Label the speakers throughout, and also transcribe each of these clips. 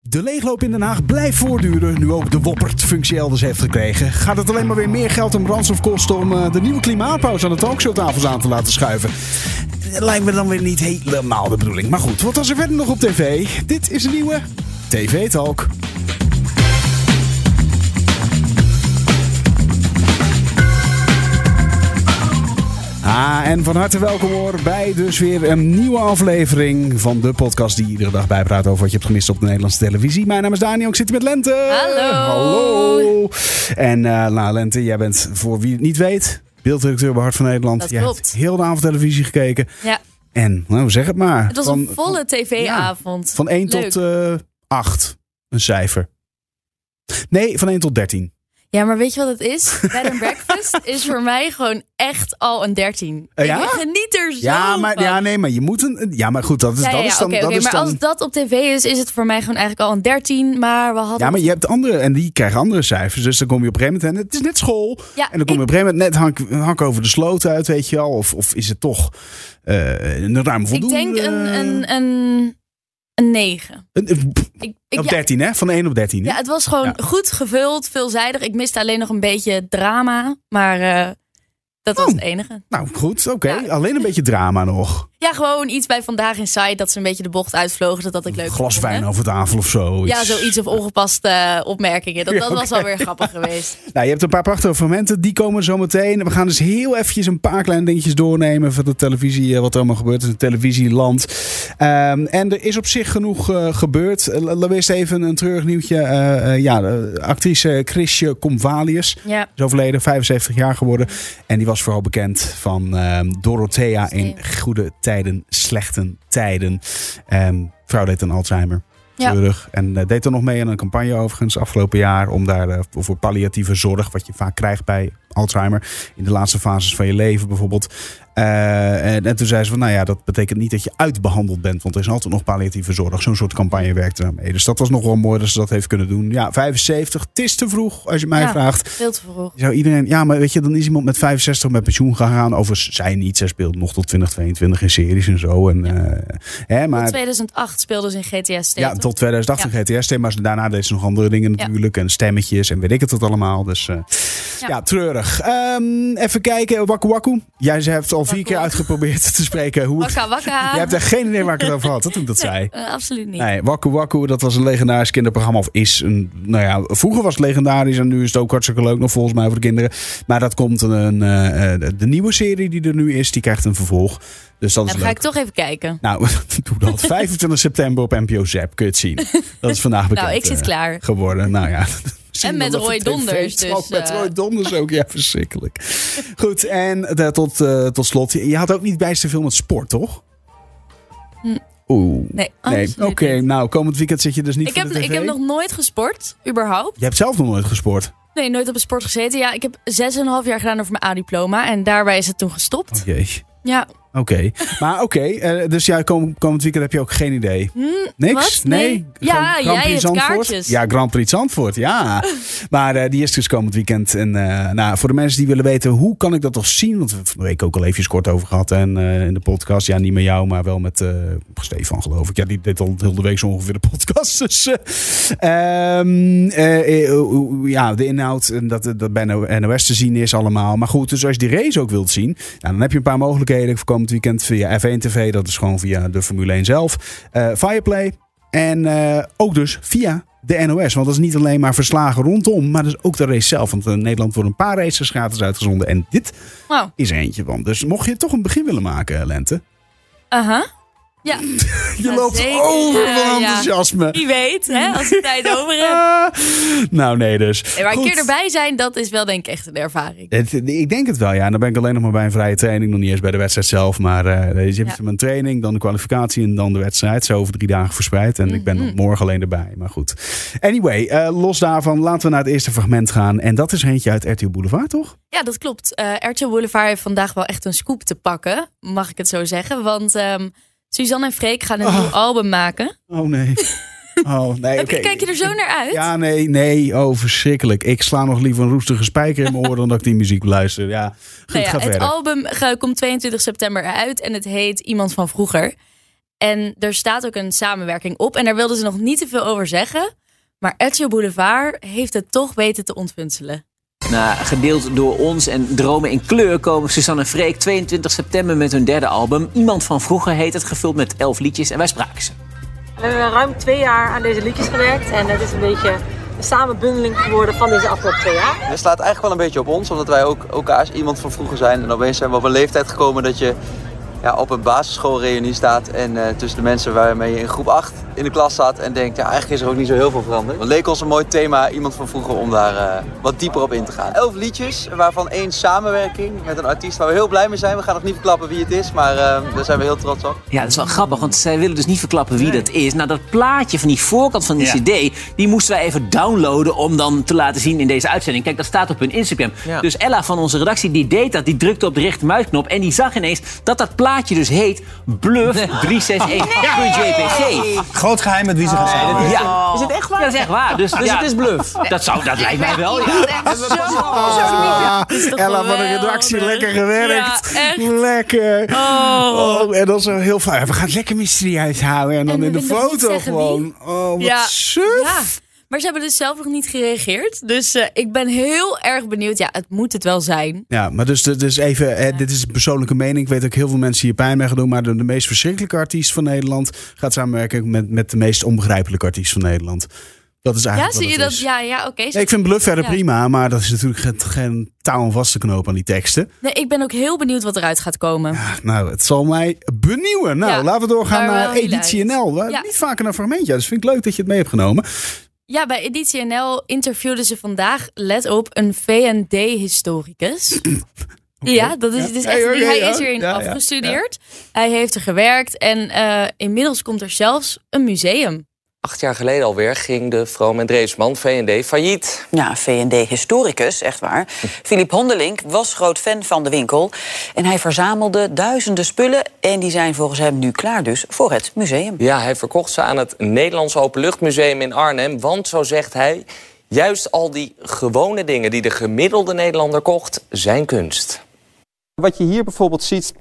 Speaker 1: De leegloop in Den Haag blijft voortduren. Nu ook de Woppert functie elders heeft gekregen. Gaat het alleen maar weer meer geld en brandstof kosten om eh, de nieuwe klimaatpauze aan de talkshowtafels aan te laten schuiven? Dat Lijkt me dan weer niet helemaal de bedoeling. Maar goed, wat was er verder nog op tv? Dit is de nieuwe TV Talk. Ah, en van harte welkom hoor bij dus weer een nieuwe aflevering van de podcast die iedere dag bijpraat over wat je hebt gemist op de Nederlandse televisie. Mijn naam is Daniel, ik zit hier met Lente.
Speaker 2: Hallo.
Speaker 1: Hallo. En eh nou Lente, jij bent voor wie het niet weet, beeldredacteur bij Hart van Nederland.
Speaker 2: Dat
Speaker 1: jij hebt
Speaker 2: klopt.
Speaker 1: heel de avond televisie gekeken.
Speaker 2: Ja,
Speaker 1: En, nou zeg het maar.
Speaker 2: het was
Speaker 1: van,
Speaker 2: een volle tv-avond.
Speaker 1: Van 1
Speaker 2: Leuk.
Speaker 1: tot eh 8, een cijfer. Nee, van 1 tot 13.
Speaker 2: Ja, maar weet je wat het is? Bed and Breakfast is voor mij gewoon echt al een 13.
Speaker 1: Eh, ja?
Speaker 2: Ik geniet er zo
Speaker 1: Ja, maar,
Speaker 2: van.
Speaker 1: ja, nee, maar je moet een... Ja, maar goed, dat is,
Speaker 2: Ja,
Speaker 1: dat
Speaker 2: ja,
Speaker 1: is dan...
Speaker 2: oké,
Speaker 1: dat
Speaker 2: oké,
Speaker 1: is
Speaker 2: maar
Speaker 1: dan...
Speaker 2: als dat op tv is, is het voor mij gewoon eigenlijk al een 13. Maar we hadden.
Speaker 1: Ja, maar je hebt andere en die krijgen andere cijfers. Dus dan kom je op een gegeven moment en het is net school.
Speaker 2: Ja,
Speaker 1: en dan kom je op een gegeven moment net hank, hank over de sloot uit, weet je wel. Of, of is het toch eh een ruim
Speaker 2: ik
Speaker 1: voldoende?
Speaker 2: denk een, een, een, een 9.
Speaker 1: een- een-
Speaker 2: Ik, ik,
Speaker 1: op
Speaker 2: ja,
Speaker 1: 13, hè? Van 1 op 13. hè?
Speaker 2: ja, het was gewoon
Speaker 1: Ja.
Speaker 2: goed gevuld, veelzijdig. Ik miste alleen nog een beetje drama. Maar eh, dat was
Speaker 1: Oh.
Speaker 2: het enige.
Speaker 1: Nou, goed, oké.
Speaker 2: Ja.
Speaker 1: Alleen een beetje drama nog.
Speaker 2: Ja, gewoon iets bij vandaag in site dat ze een beetje de bocht uitvlogen. Dat had ik leuk
Speaker 1: Een glas
Speaker 2: gevonden.
Speaker 1: wijn over tafel of zo.
Speaker 2: Ja,
Speaker 1: iets.
Speaker 2: zoiets of ongepaste eh, opmerkingen. Dat,
Speaker 1: Ja,
Speaker 2: dat was wel weer grappig geweest.
Speaker 1: Nou, je hebt een paar prachtige fragmenten. Die komen zo meteen. We gaan dus heel eventjes een paar kleine dingetjes doornemen van de televisie. eh, Wat er allemaal gebeurt in het televisieland. Ehm, en er is op zich genoeg eh, gebeurd. Eh, Laten we eerst even een treurig nieuwtje. Eh, eh, ja, de actrice Chrisje Comvalius
Speaker 2: Ja,
Speaker 1: is overleden. 75 jaar geworden. En die was vooral bekend van ehm, Dorothea in Goede Tijden, Slechte Tijden. Ehm vrouw deed aan Alzheimer.
Speaker 2: Ja.
Speaker 1: Treurig. En eh, deed er nog mee aan een campagne overigens afgelopen jaar. Om daar eh, voor palliatieve zorg, wat je vaak krijgt bij Alzheimer. In de laatste fases van je leven bijvoorbeeld. Eh, en, en toen zei ze van, nou ja, dat betekent niet dat je uitbehandeld bent. Want er is altijd nog palliatieve zorg. Zo'n soort campagne werkte daarmee. Dus dat was nog wel mooi dat ze dat heeft kunnen doen. Ja, 75, het is te vroeg als je mij
Speaker 2: Ja.
Speaker 1: vraagt.
Speaker 2: veel te vroeg.
Speaker 1: Zou iedereen, ja, maar weet je, dan is iemand met 65 met pensioen gegaan. Overigens, zij niet. Zij speelt nog tot 2022 in series en zo. En, eh, hè,
Speaker 2: In
Speaker 1: maar
Speaker 2: 2008 speelden ze in GTA State.
Speaker 1: ja, tot 2008 in GTS. Maar daarna deed ze nog andere dingen
Speaker 2: Ja.
Speaker 1: natuurlijk. En stemmetjes en weet ik het wat allemaal. Dus eh, ja.
Speaker 2: Ja.
Speaker 1: treurig. Ehm, even kijken, Waku Waku. Jij hebt al vier
Speaker 2: Waku
Speaker 1: keer
Speaker 2: Waku.
Speaker 1: uitgeprobeerd te spreken. Hoe het,
Speaker 2: Wakka wakka.
Speaker 1: je hebt echt geen idee waar ik het over had, hè, toen ik dat zei.
Speaker 2: Eh, absoluut niet.
Speaker 1: Nee, Waku Waku, dat was een legendarisch kinderprogramma. Of is een, nou ja, vroeger was het legendarisch en nu is het ook hartstikke leuk nog volgens mij voor de kinderen. Maar dat komt een, eh, eh, de nieuwe serie die er nu is, die krijgt een vervolg. Dus dat is
Speaker 2: Ja, dan
Speaker 1: leuk.
Speaker 2: Nou, ga ik toch even kijken.
Speaker 1: Nou, doe dat. 25 september op NPO Zap, kun je het zien. Dat is vandaag bekend.
Speaker 2: Nou, ik zit
Speaker 1: eh,
Speaker 2: klaar.
Speaker 1: geworden. Nou ja.
Speaker 2: En met Roy Donders,
Speaker 1: Ook
Speaker 2: dus,
Speaker 1: met
Speaker 2: eh.
Speaker 1: Roy Donders ook, ja, verschrikkelijk. Goed, en eh, tot, eh, tot slot. Je had ook niet bijster veel met sport, toch?
Speaker 2: Hm.
Speaker 1: Oeh.
Speaker 2: Nee,
Speaker 1: Nee,
Speaker 2: absoluut
Speaker 1: oké.
Speaker 2: niet.
Speaker 1: Nou, komend weekend zit je dus niet
Speaker 2: Ik
Speaker 1: voor
Speaker 2: heb,
Speaker 1: de tv.
Speaker 2: ik heb nog nooit gesport, überhaupt.
Speaker 1: Je hebt zelf nog nooit gesport.
Speaker 2: Nee, nooit op een sport gezeten. Ja, ik heb 6,5 jaar gedaan over mijn A-diploma. En daarbij is het toen gestopt.
Speaker 1: Jee.
Speaker 2: Ja,
Speaker 1: Oké. Maar oké, eh, dus ja, kom, komend weekend heb je ook geen idee. Niks?
Speaker 2: hm, wat? Nee. Ja,
Speaker 1: Gewoon Grand
Speaker 2: jij
Speaker 1: Prix
Speaker 2: hebt
Speaker 1: Zandvoort?
Speaker 2: kaartjes.
Speaker 1: Ja, Grand Prix Zandvoort, ja. maar eh, die is dus komend weekend. En eh, nou, voor de mensen die willen weten, hoe kan ik dat toch zien? Want we hebben het van de week ook al even kort over gehad hè, en, eh, in de podcast. Ja, niet met jou, maar wel met eh, Stefan, geloof ik. Ja, die deed al heel de week zo ongeveer de podcast. Dus, eh, ehm, eh, eh, hoe- hoe- ja, de inhoud, en dat, eh, dat bij NOS te zien is allemaal. Maar goed, dus als je die race ook wilt zien, nou, dan heb je een paar mogelijkheden voor komend weekend via F1 TV. Dat is gewoon via de Formule 1 zelf. Eh, Fireplay. En eh, ook dus via de NOS. Want dat is niet alleen maar verslagen rondom, maar dat is ook de race zelf. Want in Nederland worden een paar races gratis uitgezonden. En dit
Speaker 2: wow.
Speaker 1: is er eentje van. Dus mocht je toch een begin willen maken, eh, Lente.
Speaker 2: Aha. Ja,
Speaker 1: Je
Speaker 2: Ja,
Speaker 1: loopt
Speaker 2: zeker.
Speaker 1: over
Speaker 2: Ja,
Speaker 1: van
Speaker 2: ja.
Speaker 1: enthousiasme.
Speaker 2: wie weet, hè, als ik tijd over heb.
Speaker 1: Ah, nou, nee dus.
Speaker 2: Nee, maar een
Speaker 1: Goed.
Speaker 2: keer erbij zijn, dat is wel denk ik echt een ervaring.
Speaker 1: Het- ik denk het wel, ja. En dan ben ik alleen nog maar bij een vrije training. Nog niet eens bij de wedstrijd zelf. Maar eh je hebt
Speaker 2: Ja.
Speaker 1: mijn training, dan de kwalificatie en dan de wedstrijd. Zo over drie dagen verspreid. En ik
Speaker 2: Mhm.
Speaker 1: ben nog morgen alleen erbij. Maar goed. Anyway, eh, los daarvan. Laten we naar het eerste fragment gaan. En dat is eentje uit RTL Boulevard, toch?
Speaker 2: Ja, dat klopt. Eh RTL Boulevard heeft vandaag wel echt een scoop te pakken, mag ik het zo zeggen. Want ehm, Suzanne en Freek gaan een
Speaker 1: Oh.
Speaker 2: nieuw album maken.
Speaker 1: Oh nee. Oh nee.
Speaker 2: Heb je-
Speaker 1: oké.
Speaker 2: Kijk je er zo naar uit?
Speaker 1: Ja, nee, nee. Oh, verschrikkelijk. Ik sla nog liever een roestige spijker in mijn oren dan dat ik die muziek luister. Ja, goed,
Speaker 2: Nou ja,
Speaker 1: ga
Speaker 2: het
Speaker 1: verder.
Speaker 2: album ge- komt 22 september uit en het heet Iemand van Vroeger. En er staat ook een samenwerking op. En daar wilden ze nog niet te veel over zeggen. Maar Ezio Boulevard heeft het toch weten te ontfutselen.
Speaker 3: Na gedeeld door ons en Dromen in Kleur komen Suzanne en Freek 22 september met hun derde album. Iemand van vroeger heet het, gevuld met elf liedjes en wij spraken ze.
Speaker 4: We hebben ruim twee jaar aan deze liedjes gewerkt en het is een beetje een samenbundeling geworden van deze afgelopen twee jaar.
Speaker 5: Het slaat eigenlijk wel een beetje op ons, omdat wij ook elkaars iemand van vroeger zijn. En opeens zijn we op een leeftijd gekomen dat je ja, op een basisschoolreunie staat. En eh, tussen de mensen waarmee je in groep 8 in de klas zat. En denkt, ja, eigenlijk is er ook niet zo heel veel veranderd. Het leek ons een mooi thema, iemand van vroeger, om daar eh, wat dieper op in te gaan. Elf liedjes, waarvan één samenwerking met een artiest waar we heel blij mee zijn. We gaan nog niet verklappen wie het is, maar eh, daar zijn we heel trots op.
Speaker 3: Ja, dat is wel grappig, want zij willen dus niet verklappen wie dat is. Nou, dat plaatje van die voorkant van die cd, die moesten wij even downloaden om dan te laten zien in deze uitzending. Kijk, dat staat op hun Instagram.
Speaker 5: Ja.
Speaker 3: Dus Ella van onze redactie, die deed dat, die drukte op de rechtermuisknop en die zag ineens dat dat plaatje dus heet Bluff 361.jpg.
Speaker 6: Groot geheim met wie ze gaan
Speaker 2: Oh.
Speaker 6: samenwerken.
Speaker 3: Ja.
Speaker 7: Is het echt
Speaker 3: Ja,
Speaker 7: waar?
Speaker 3: dat is echt waar. Dus, ja,
Speaker 7: bluff.
Speaker 3: dat, zou, dat lijkt mij wel, ja.
Speaker 2: is toch
Speaker 1: Ella van de
Speaker 2: geweldig.
Speaker 1: redactie, lekker gewerkt.
Speaker 2: Ja, echt.
Speaker 1: lekker.
Speaker 2: Oh.
Speaker 1: Oh, en dat is wel heel fijn. We gaan het lekker mysterieus houden. En dan
Speaker 2: En we
Speaker 1: in de
Speaker 2: willen nog niet
Speaker 1: foto
Speaker 2: zeggen
Speaker 1: gewoon. Oh, wat
Speaker 2: Ja.
Speaker 1: suf.
Speaker 2: Ja, maar ze hebben dus zelf nog niet gereageerd. Dus eh, ik ben heel erg benieuwd. Ja, het moet het wel zijn.
Speaker 1: Ja, maar dus, dus even, eh, dit is een persoonlijke mening. Ik weet ook heel veel mensen hier pijn mee gaan doen. Maar de, de meest verschrikkelijke artiest van Nederland gaat samenwerken met, met de meest onbegrijpelijke artiest van Nederland. Dat is
Speaker 2: Ja,
Speaker 1: eigenlijk
Speaker 2: zie
Speaker 1: wat
Speaker 2: je
Speaker 1: het
Speaker 2: dat?
Speaker 1: is.
Speaker 2: Ja, ja, oké.
Speaker 1: Nee, ik vind Bluff verder
Speaker 2: Ja.
Speaker 1: prima, maar dat is natuurlijk geen, geen touw om vast te knopen aan die teksten.
Speaker 2: Nee, ik ben ook heel benieuwd wat eruit gaat komen.
Speaker 1: Ah, Nou, het zal mij benieuwen. Nou,
Speaker 2: Ja,
Speaker 1: laten we doorgaan
Speaker 2: maar wel
Speaker 1: naar
Speaker 2: heel
Speaker 1: Editie
Speaker 2: uit.
Speaker 1: NL. We-
Speaker 2: Ja.
Speaker 1: Niet vaker een fragmentje, dus vind ik leuk dat je het mee hebt genomen.
Speaker 2: Ja, bij Editie NL interviewden ze vandaag, let op, een VND-historicus. Ja, dat is, het is echt,
Speaker 1: Hey, oké,
Speaker 2: hij
Speaker 1: ja.
Speaker 2: is erin
Speaker 1: Ja, ja,
Speaker 2: afgestudeerd. Hij heeft er gewerkt en eh, inmiddels komt er zelfs een museum.
Speaker 8: Acht jaar geleden alweer ging de Vroom en Dreesman V&D failliet.
Speaker 9: Ja, VND-historicus, echt waar. Filip Hondelink was groot fan van de winkel. En hij verzamelde duizenden spullen. En die zijn volgens hem nu klaar dus voor het museum.
Speaker 8: Ja, hij verkocht ze aan het Nederlands Openluchtmuseum in Arnhem. Want, zo zegt hij, juist al die gewone dingen die de gemiddelde Nederlander kocht, zijn kunst.
Speaker 5: Wat je hier bijvoorbeeld ziet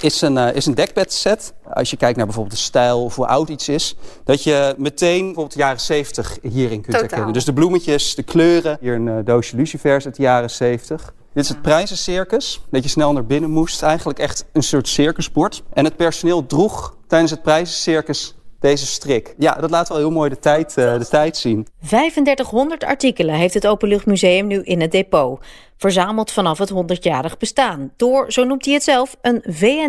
Speaker 5: is een, eh, is een dekbedset. Als je kijkt naar bijvoorbeeld de stijl of hoe oud iets is, dat je meteen bijvoorbeeld de jaren 70 hierin kunt herkennen. Dus de bloemetjes, de kleuren. Hier een eh, doosje lucifers uit de jaren 70. Dit is het prijzencircus, dat je snel naar binnen moest. Eigenlijk echt een soort circusbord. En het personeel droeg tijdens het prijzencircus deze strik. Ja, dat laat wel heel mooi de tijd, eh, de tijd zien.
Speaker 10: 3500 artikelen heeft het Openluchtmuseum nu in het depot. Verzameld vanaf het 100-jarig bestaan. Door, zo noemt hij het zelf, een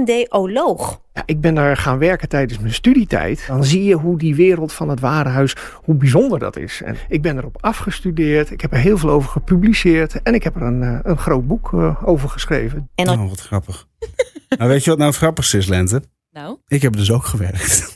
Speaker 10: VND-oloog.
Speaker 11: Ja, ik ben daar gaan werken tijdens mijn studietijd. Dan zie je hoe die wereld van het warenhuis, hoe bijzonder dat is. En ik ben erop afgestudeerd, ik heb er heel veel over gepubliceerd en ik heb er een, eh, een groot boek eh, over geschreven.
Speaker 10: En als
Speaker 1: Oh, wat grappig. nou, weet je wat nou het grappigste is, Lente?
Speaker 2: Nou,
Speaker 1: Ik heb dus ook gewerkt.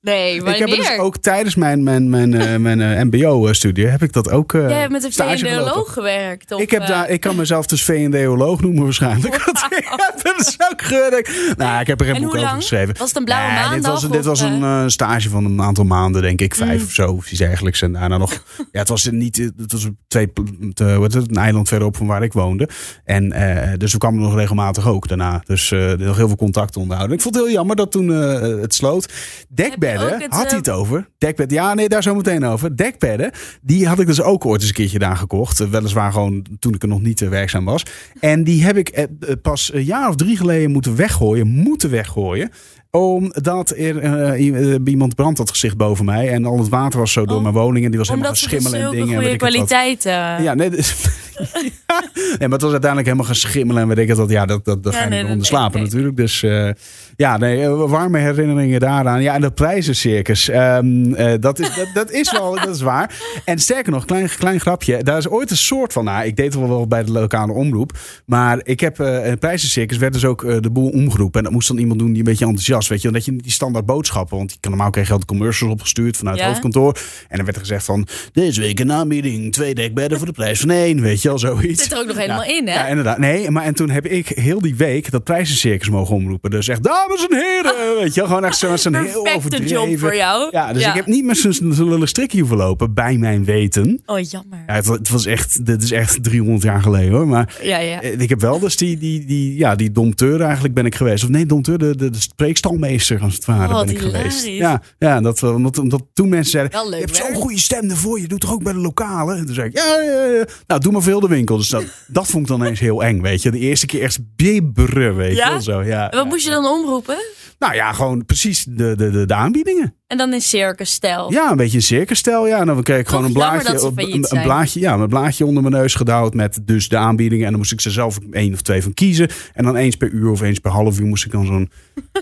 Speaker 2: nee,
Speaker 1: Ik
Speaker 2: wanneer?
Speaker 1: heb het dus ook tijdens mijn, mijn, mijn, eh, mijn MBO-studie heb ik dat ook. eh,
Speaker 2: Jij hebt met een
Speaker 1: stage gelopen.
Speaker 2: VND-oloog gewerkt. of,
Speaker 1: Ik, heb
Speaker 2: eh,
Speaker 1: daar, ik kan mezelf dus VND-oloog noemen waarschijnlijk. Want ik heb er dus ook gewerkt. Nou, ik heb er een
Speaker 2: En
Speaker 1: boek
Speaker 2: hoe
Speaker 1: over
Speaker 2: lang?
Speaker 1: geschreven.
Speaker 2: Was het een blauwe
Speaker 1: Nee, Dit
Speaker 2: maandag
Speaker 1: was, een- dit
Speaker 2: of, Mm.
Speaker 1: was een eh, stage van een aantal maanden, denk ik. Vijf of zo, of iets dergelijks. En daarna nog... Ja, het was niet... Het was op twee, pl- eh, wat is het, een eiland verderop van waar ik woonde. En eh, dus we kwamen nog regelmatig ook daarna. Dus eh, nog heel veel contact onderhouden. Ik vond het heel jammer dat toen eh, het sloot.
Speaker 2: Heb
Speaker 1: Dekbedden,
Speaker 2: je ook het,
Speaker 1: had hij
Speaker 2: eh,
Speaker 1: het over? Dekbed, ja, nee, daar zo meteen over. Dekbedden, die had ik dus ook ooit eens een keertje daar gekocht. Eh, Weliswaar gewoon toen ik er nog niet eh, werkzaam was. En die heb ik eh, eh, pas een jaar of drie geleden moeten weggooien. Moeten weggooien. Omdat er eh, i- eh, iemand brand had gezicht boven mij. En al het water was zo door
Speaker 2: Oh.
Speaker 1: mijn woning. En die was
Speaker 2: Omdat ze
Speaker 1: helemaal
Speaker 2: dus
Speaker 1: geschimmelen en
Speaker 2: zulke
Speaker 1: dingen. en
Speaker 2: goede
Speaker 1: weet ik het wat.
Speaker 2: kwaliteit... eh,
Speaker 1: Ja, nee, dus- Ja, nee, maar het was uiteindelijk helemaal gaan schimmelen en weet ik het wat. Ja, dat, dat, dat
Speaker 2: Ja,
Speaker 1: ga je
Speaker 2: nee,
Speaker 1: niet
Speaker 2: dat-
Speaker 1: onder slapen
Speaker 2: nee.
Speaker 1: natuurlijk. Dus eh, ja, nee, eh, warme herinneringen daaraan. Ja, en dat prijzencircus, ehm, eh, dat, is, dat, dat is wel, dat is waar. En sterker nog, klein, klein grapje, daar is ooit een soort van, nou, ik deed het wel wel bij de lokale omroep, maar ik heb eh een prijzencircus, werd dus ook eh, de boel omgeroepen. En dat moest dan iemand doen die een beetje enthousiast, weet je. Omdat je niet die standaard boodschappen, want die kan normaal kreeg je altijd commercials opgestuurd vanuit
Speaker 2: Ja.
Speaker 1: het hoofdkantoor. En er werd er gezegd van, deze week een aanbieding, twee dekbedden voor de prijs van één, weet je je wel, zoiets.
Speaker 2: Zit er ook nog helemaal in, hè?
Speaker 1: Ja, inderdaad. Nee, maar en toen heb ik heel die week dat prijzencircus mogen omroepen. Dus echt, dames en heren, weet je wel. Gewoon echt zo'n zo'n heel
Speaker 2: Oh. Perfecte
Speaker 1: overdreven...
Speaker 2: job voor jou.
Speaker 1: Ja, dus
Speaker 2: Ja.
Speaker 1: ik heb niet met zo'n zo'n lullig strikje hoeven lopen, bij mijn weten.
Speaker 2: Oh, jammer.
Speaker 1: Ja, het, het was echt, dit is echt 300 jaar geleden hoor. Maar
Speaker 2: Ja, ja.
Speaker 1: eh, ik heb wel dus die, die, die, ja, die domteur eigenlijk ben ik geweest. Of nee, domteur, de, de, de spreekstalmeester als het ware
Speaker 2: Oh, wat
Speaker 1: ben ik geweest.
Speaker 2: hilarisch.
Speaker 1: Ja, ja dat, eh, omdat, omdat toen mensen zeiden,
Speaker 2: Wel leuk
Speaker 1: je hebt zo'n
Speaker 2: werk."
Speaker 1: goede stem ervoor. Je doet toch ook bij de lokale? En toen zei ik, ja, ja, ja. Nou, doe maar veel de winkel. Dus dat, dat vond ik dan eens heel eng, weet je. De eerste keer echt bibberen, weet je
Speaker 2: Ja?
Speaker 1: wel zo. Ja,
Speaker 2: En wat moest je dan omroepen?
Speaker 1: Nou ja, gewoon precies de, de, de, de aanbiedingen.
Speaker 2: En dan in circusstijl.
Speaker 1: Ja, een beetje een circusstijl. Ja, en dan kreeg ik gewoon een
Speaker 2: jammer
Speaker 1: blaadje,
Speaker 2: dat ze failliet
Speaker 1: een, een
Speaker 2: zijn.
Speaker 1: blaadje, ja, een blaadje onder mijn neus gedouwd met dus de aanbiedingen. En dan moest ik ze zelf één of twee van kiezen. En dan eens per uur of eens per half uur moest ik dan zo'n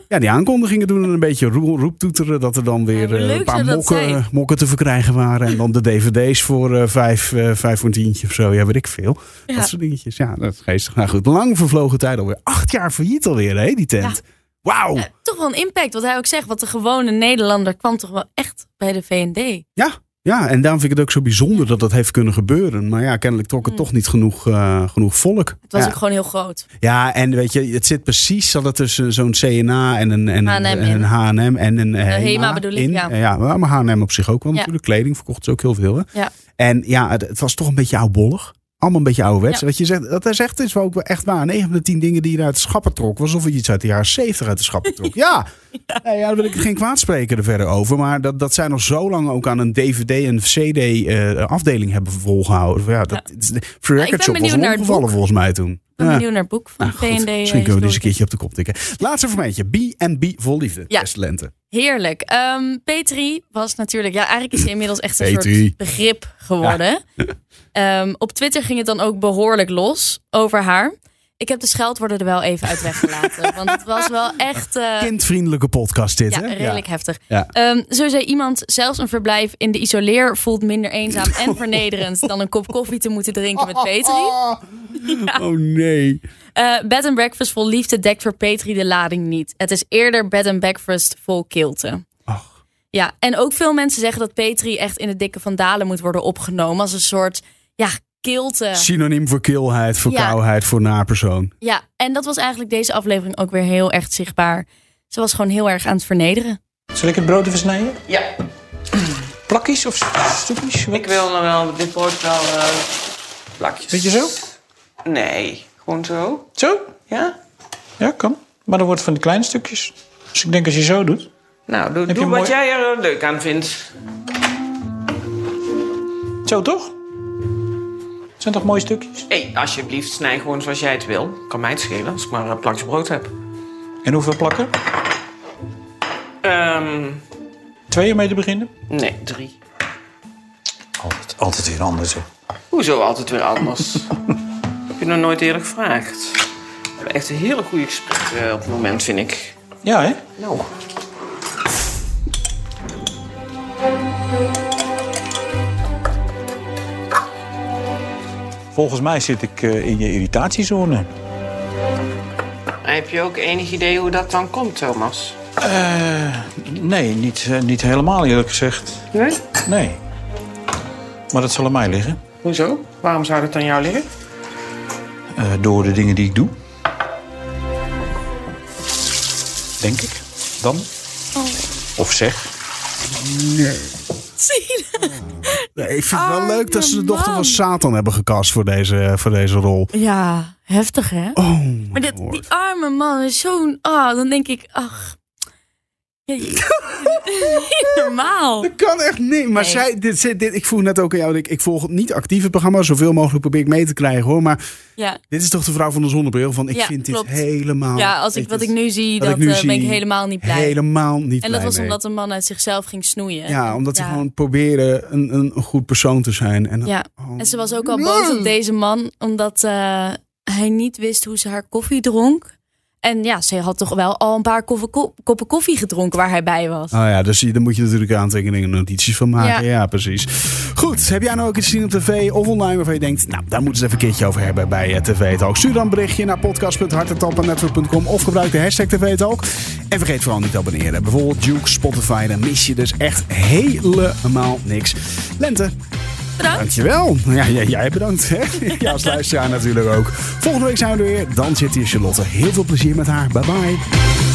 Speaker 1: ja, die aankondigingen doen en een beetje roe- roeptoeteren. Dat er dan weer
Speaker 2: hoe
Speaker 1: eh, een
Speaker 2: leuk
Speaker 1: paar
Speaker 2: zou dat
Speaker 1: mokken,
Speaker 2: zijn?
Speaker 1: mokken te verkrijgen waren. En dan de dvd's voor eh vijf, eh, vijf voor een tientje of zo. Ja, weet ik veel.
Speaker 2: Ja.
Speaker 1: Dat soort dingetjes. Ja, dat is geestig. Nou goed, lang vervlogen tijd alweer. Acht jaar failliet alweer, hè, die tent. Wauw.
Speaker 2: Ja, toch wel een impact, wat hij ook zegt. Want de gewone Nederlander kwam toch wel echt bij de VND.
Speaker 1: Ja, ja, en daarom vind ik het ook zo bijzonder dat dat heeft kunnen gebeuren. Maar ja, kennelijk trok het toch niet genoeg, eh, genoeg volk.
Speaker 2: Mm. Het was
Speaker 1: ja.
Speaker 2: ook gewoon heel groot.
Speaker 1: ja, en weet je, het zit precies zat het tussen zo'n CNA en een en een-
Speaker 2: H&M
Speaker 1: en een H&M en een eh,
Speaker 2: Hema E bedoel ik,
Speaker 1: in.
Speaker 2: ja.
Speaker 1: Eh, ja, maar H&M op zich ook wel
Speaker 2: Ja.
Speaker 1: natuurlijk. Kleding verkocht ze ook heel veel. Hè?
Speaker 2: Ja.
Speaker 1: En ja, het, het was toch een beetje oudbollig. Allemaal een beetje ouderwets.
Speaker 2: Ja.
Speaker 1: Wat je zegt, dat is echt, is wel ook wel echt waar. 9 van de 10 dingen die je uit de schappen trok, was alsof je iets uit de jaren 70 uit de schappen trok. ja, Nee, ja daar wil ik geen kwaad spreken er verder over. Maar dat, dat zij nog zo lang ook aan een DVD en CD-afdeling hebben volgehouden. Ja, dat, Free
Speaker 2: Ja, ik ben
Speaker 1: Record Shop was
Speaker 2: benieuwd
Speaker 1: een
Speaker 2: naar het
Speaker 1: ongevallen
Speaker 2: boek.
Speaker 1: volgens mij toen.
Speaker 2: Ik ben
Speaker 1: Ja.
Speaker 2: benieuwd naar het boek van
Speaker 1: Nou,
Speaker 2: de
Speaker 1: goed,
Speaker 2: VND.
Speaker 1: misschien kunnen we die eens een
Speaker 2: historicus.
Speaker 1: keertje op de kop tikken. Laatste vermeentje. B&B vol liefde.
Speaker 2: Ja.
Speaker 1: Beste lente.
Speaker 2: Heerlijk. Ehm, Petri was natuurlijk, ja, eigenlijk is hij inmiddels echt een
Speaker 1: Petri.
Speaker 2: soort begrip geworden. Ehm, op Twitter ging het dan ook behoorlijk los over haar. Ik heb de scheldwoorden er wel even uit weggelaten. want het was wel echt. eh,
Speaker 1: Kindvriendelijke podcast dit,
Speaker 2: ja,
Speaker 1: hè?
Speaker 2: redelijk heftig.
Speaker 1: Ja.
Speaker 2: Ehm, zo zei iemand, zelfs een verblijf in de isoleer voelt minder eenzaam en vernederend dan een kop koffie te moeten drinken met Petri.
Speaker 1: Oh nee.
Speaker 2: Eh, bed and breakfast vol liefde dekt voor Petri de lading niet. Het is eerder bed and breakfast vol kilte.
Speaker 1: Ach.
Speaker 2: Ja, en ook veel mensen zeggen dat Petri echt in de dikke vandalen moet worden opgenomen als een soort ja, kilte.
Speaker 1: Synoniem voor kilheid, voor
Speaker 2: Ja.
Speaker 1: kouheid, voor napersoon.
Speaker 2: Ja, en dat was eigenlijk deze aflevering ook weer heel echt zichtbaar. Ze was gewoon heel erg aan het vernederen.
Speaker 6: Zal ik het brood even snijden?
Speaker 7: Ja,
Speaker 6: Plakjes of stukjes?
Speaker 7: ik wil nog wel, dit wordt wel eh, plakjes.
Speaker 6: Beetje zo?
Speaker 7: Nee, gewoon zo.
Speaker 6: Zo?
Speaker 7: Ja?
Speaker 6: Ja, kan. Maar dan wordt het van die kleine stukjes. Dus ik denk als je zo doet.
Speaker 7: Nou, doe,
Speaker 6: Heb je
Speaker 7: doe
Speaker 6: een
Speaker 7: wat
Speaker 6: mooi-
Speaker 7: jij er leuk aan vindt.
Speaker 6: Zo toch? Zijn toch mooie stukjes?
Speaker 7: Hé, alsjeblieft, snij gewoon zoals jij het wil. Kan mij het schelen als ik maar een plakje brood heb.
Speaker 6: En hoeveel plakken?
Speaker 7: Ehm,
Speaker 6: Twee om mee te beginnen?
Speaker 7: nee, drie.
Speaker 6: Altijd, altijd weer anders.
Speaker 7: Hoezo altijd weer anders? heb je nog nooit eerder gevraagd? We hebben echt een hele goede gesprek eh, op het moment, vind ik.
Speaker 6: Ja, hè?
Speaker 7: Nou.
Speaker 6: Volgens mij zit ik eh, in je irritatiezone.
Speaker 7: Heb je ook enig idee hoe dat dan komt, Thomas?
Speaker 6: Eh, nee, niet, eh, niet helemaal eerlijk gezegd.
Speaker 7: Nee?
Speaker 6: Nee. Maar dat zal aan mij liggen.
Speaker 7: Hoezo? Waarom zou dat aan jou liggen?
Speaker 6: Eh, door de dingen die ik doe. Denk ik. Dan. Of zeg.
Speaker 1: Nee, ik vind het wel
Speaker 2: Arme
Speaker 1: leuk dat ze de dochter
Speaker 2: Oh, man.
Speaker 1: van Satan hebben gecast voor deze, voor deze rol.
Speaker 2: Ja, heftig hè?
Speaker 1: Oh,
Speaker 2: maar dit, die arme man is zo'n... Ah, dan denk ik, ach... Ja, je- niet normaal.
Speaker 1: Dat kan echt niet. Maar
Speaker 2: Nee.
Speaker 1: zij, dit, dit, dit- ik vroeg net ook aan jou, ik, ik volg niet actief het programma. Zoveel mogelijk probeer ik mee te krijgen hoor. Maar
Speaker 2: Ja,
Speaker 1: dit is toch de vrouw van de zonnebril? Van ik
Speaker 2: Ja,
Speaker 1: vind
Speaker 2: klopt.
Speaker 1: dit helemaal.
Speaker 2: ja als
Speaker 1: weet
Speaker 2: ik,
Speaker 1: je,
Speaker 2: wat ik nu zie,
Speaker 1: wat
Speaker 2: dat
Speaker 1: Oh, ik nu
Speaker 2: eh, ben
Speaker 1: zie,
Speaker 2: ik helemaal niet blij.
Speaker 1: Helemaal niet.
Speaker 2: en dat
Speaker 1: blij
Speaker 2: was
Speaker 1: mee.
Speaker 2: omdat een man uit zichzelf ging snoeien.
Speaker 1: Ja, omdat ze
Speaker 2: Ja.
Speaker 1: gewoon proberen een, een goed persoon te zijn. En
Speaker 2: Ja,
Speaker 1: Oh. Mm.
Speaker 2: en ze was ook al boos op deze man, omdat eh, hij niet wist hoe ze haar koffie dronk. En ja, ze had toch wel al een paar koffie- ko- koppen koffie gedronken waar hij bij was.
Speaker 1: Oh ja, dus je- daar moet je natuurlijk aantekeningen en notities van maken. Ja.
Speaker 2: Ja.
Speaker 1: precies. Goed, heb jij nou ook iets gezien op tv of online waarvan je denkt... nou, daar moeten ze even een keertje over hebben bij eh, TV Talk. Stuur dan een berichtje naar podcast.hartentalk.network.com of gebruik de hashtag TV Talk. En vergeet vooral niet te abonneren. Bijvoorbeeld Duke, Spotify, dan mis je dus echt helemaal niks. Lente,
Speaker 2: bedankt.
Speaker 1: Dankjewel. Ja, ja, jij bedankt. Hè? Ja, als luisteraar natuurlijk ook. Volgende week zijn we er weer. Dan zit hier Charlotte. Heel veel plezier met haar. Bye bye.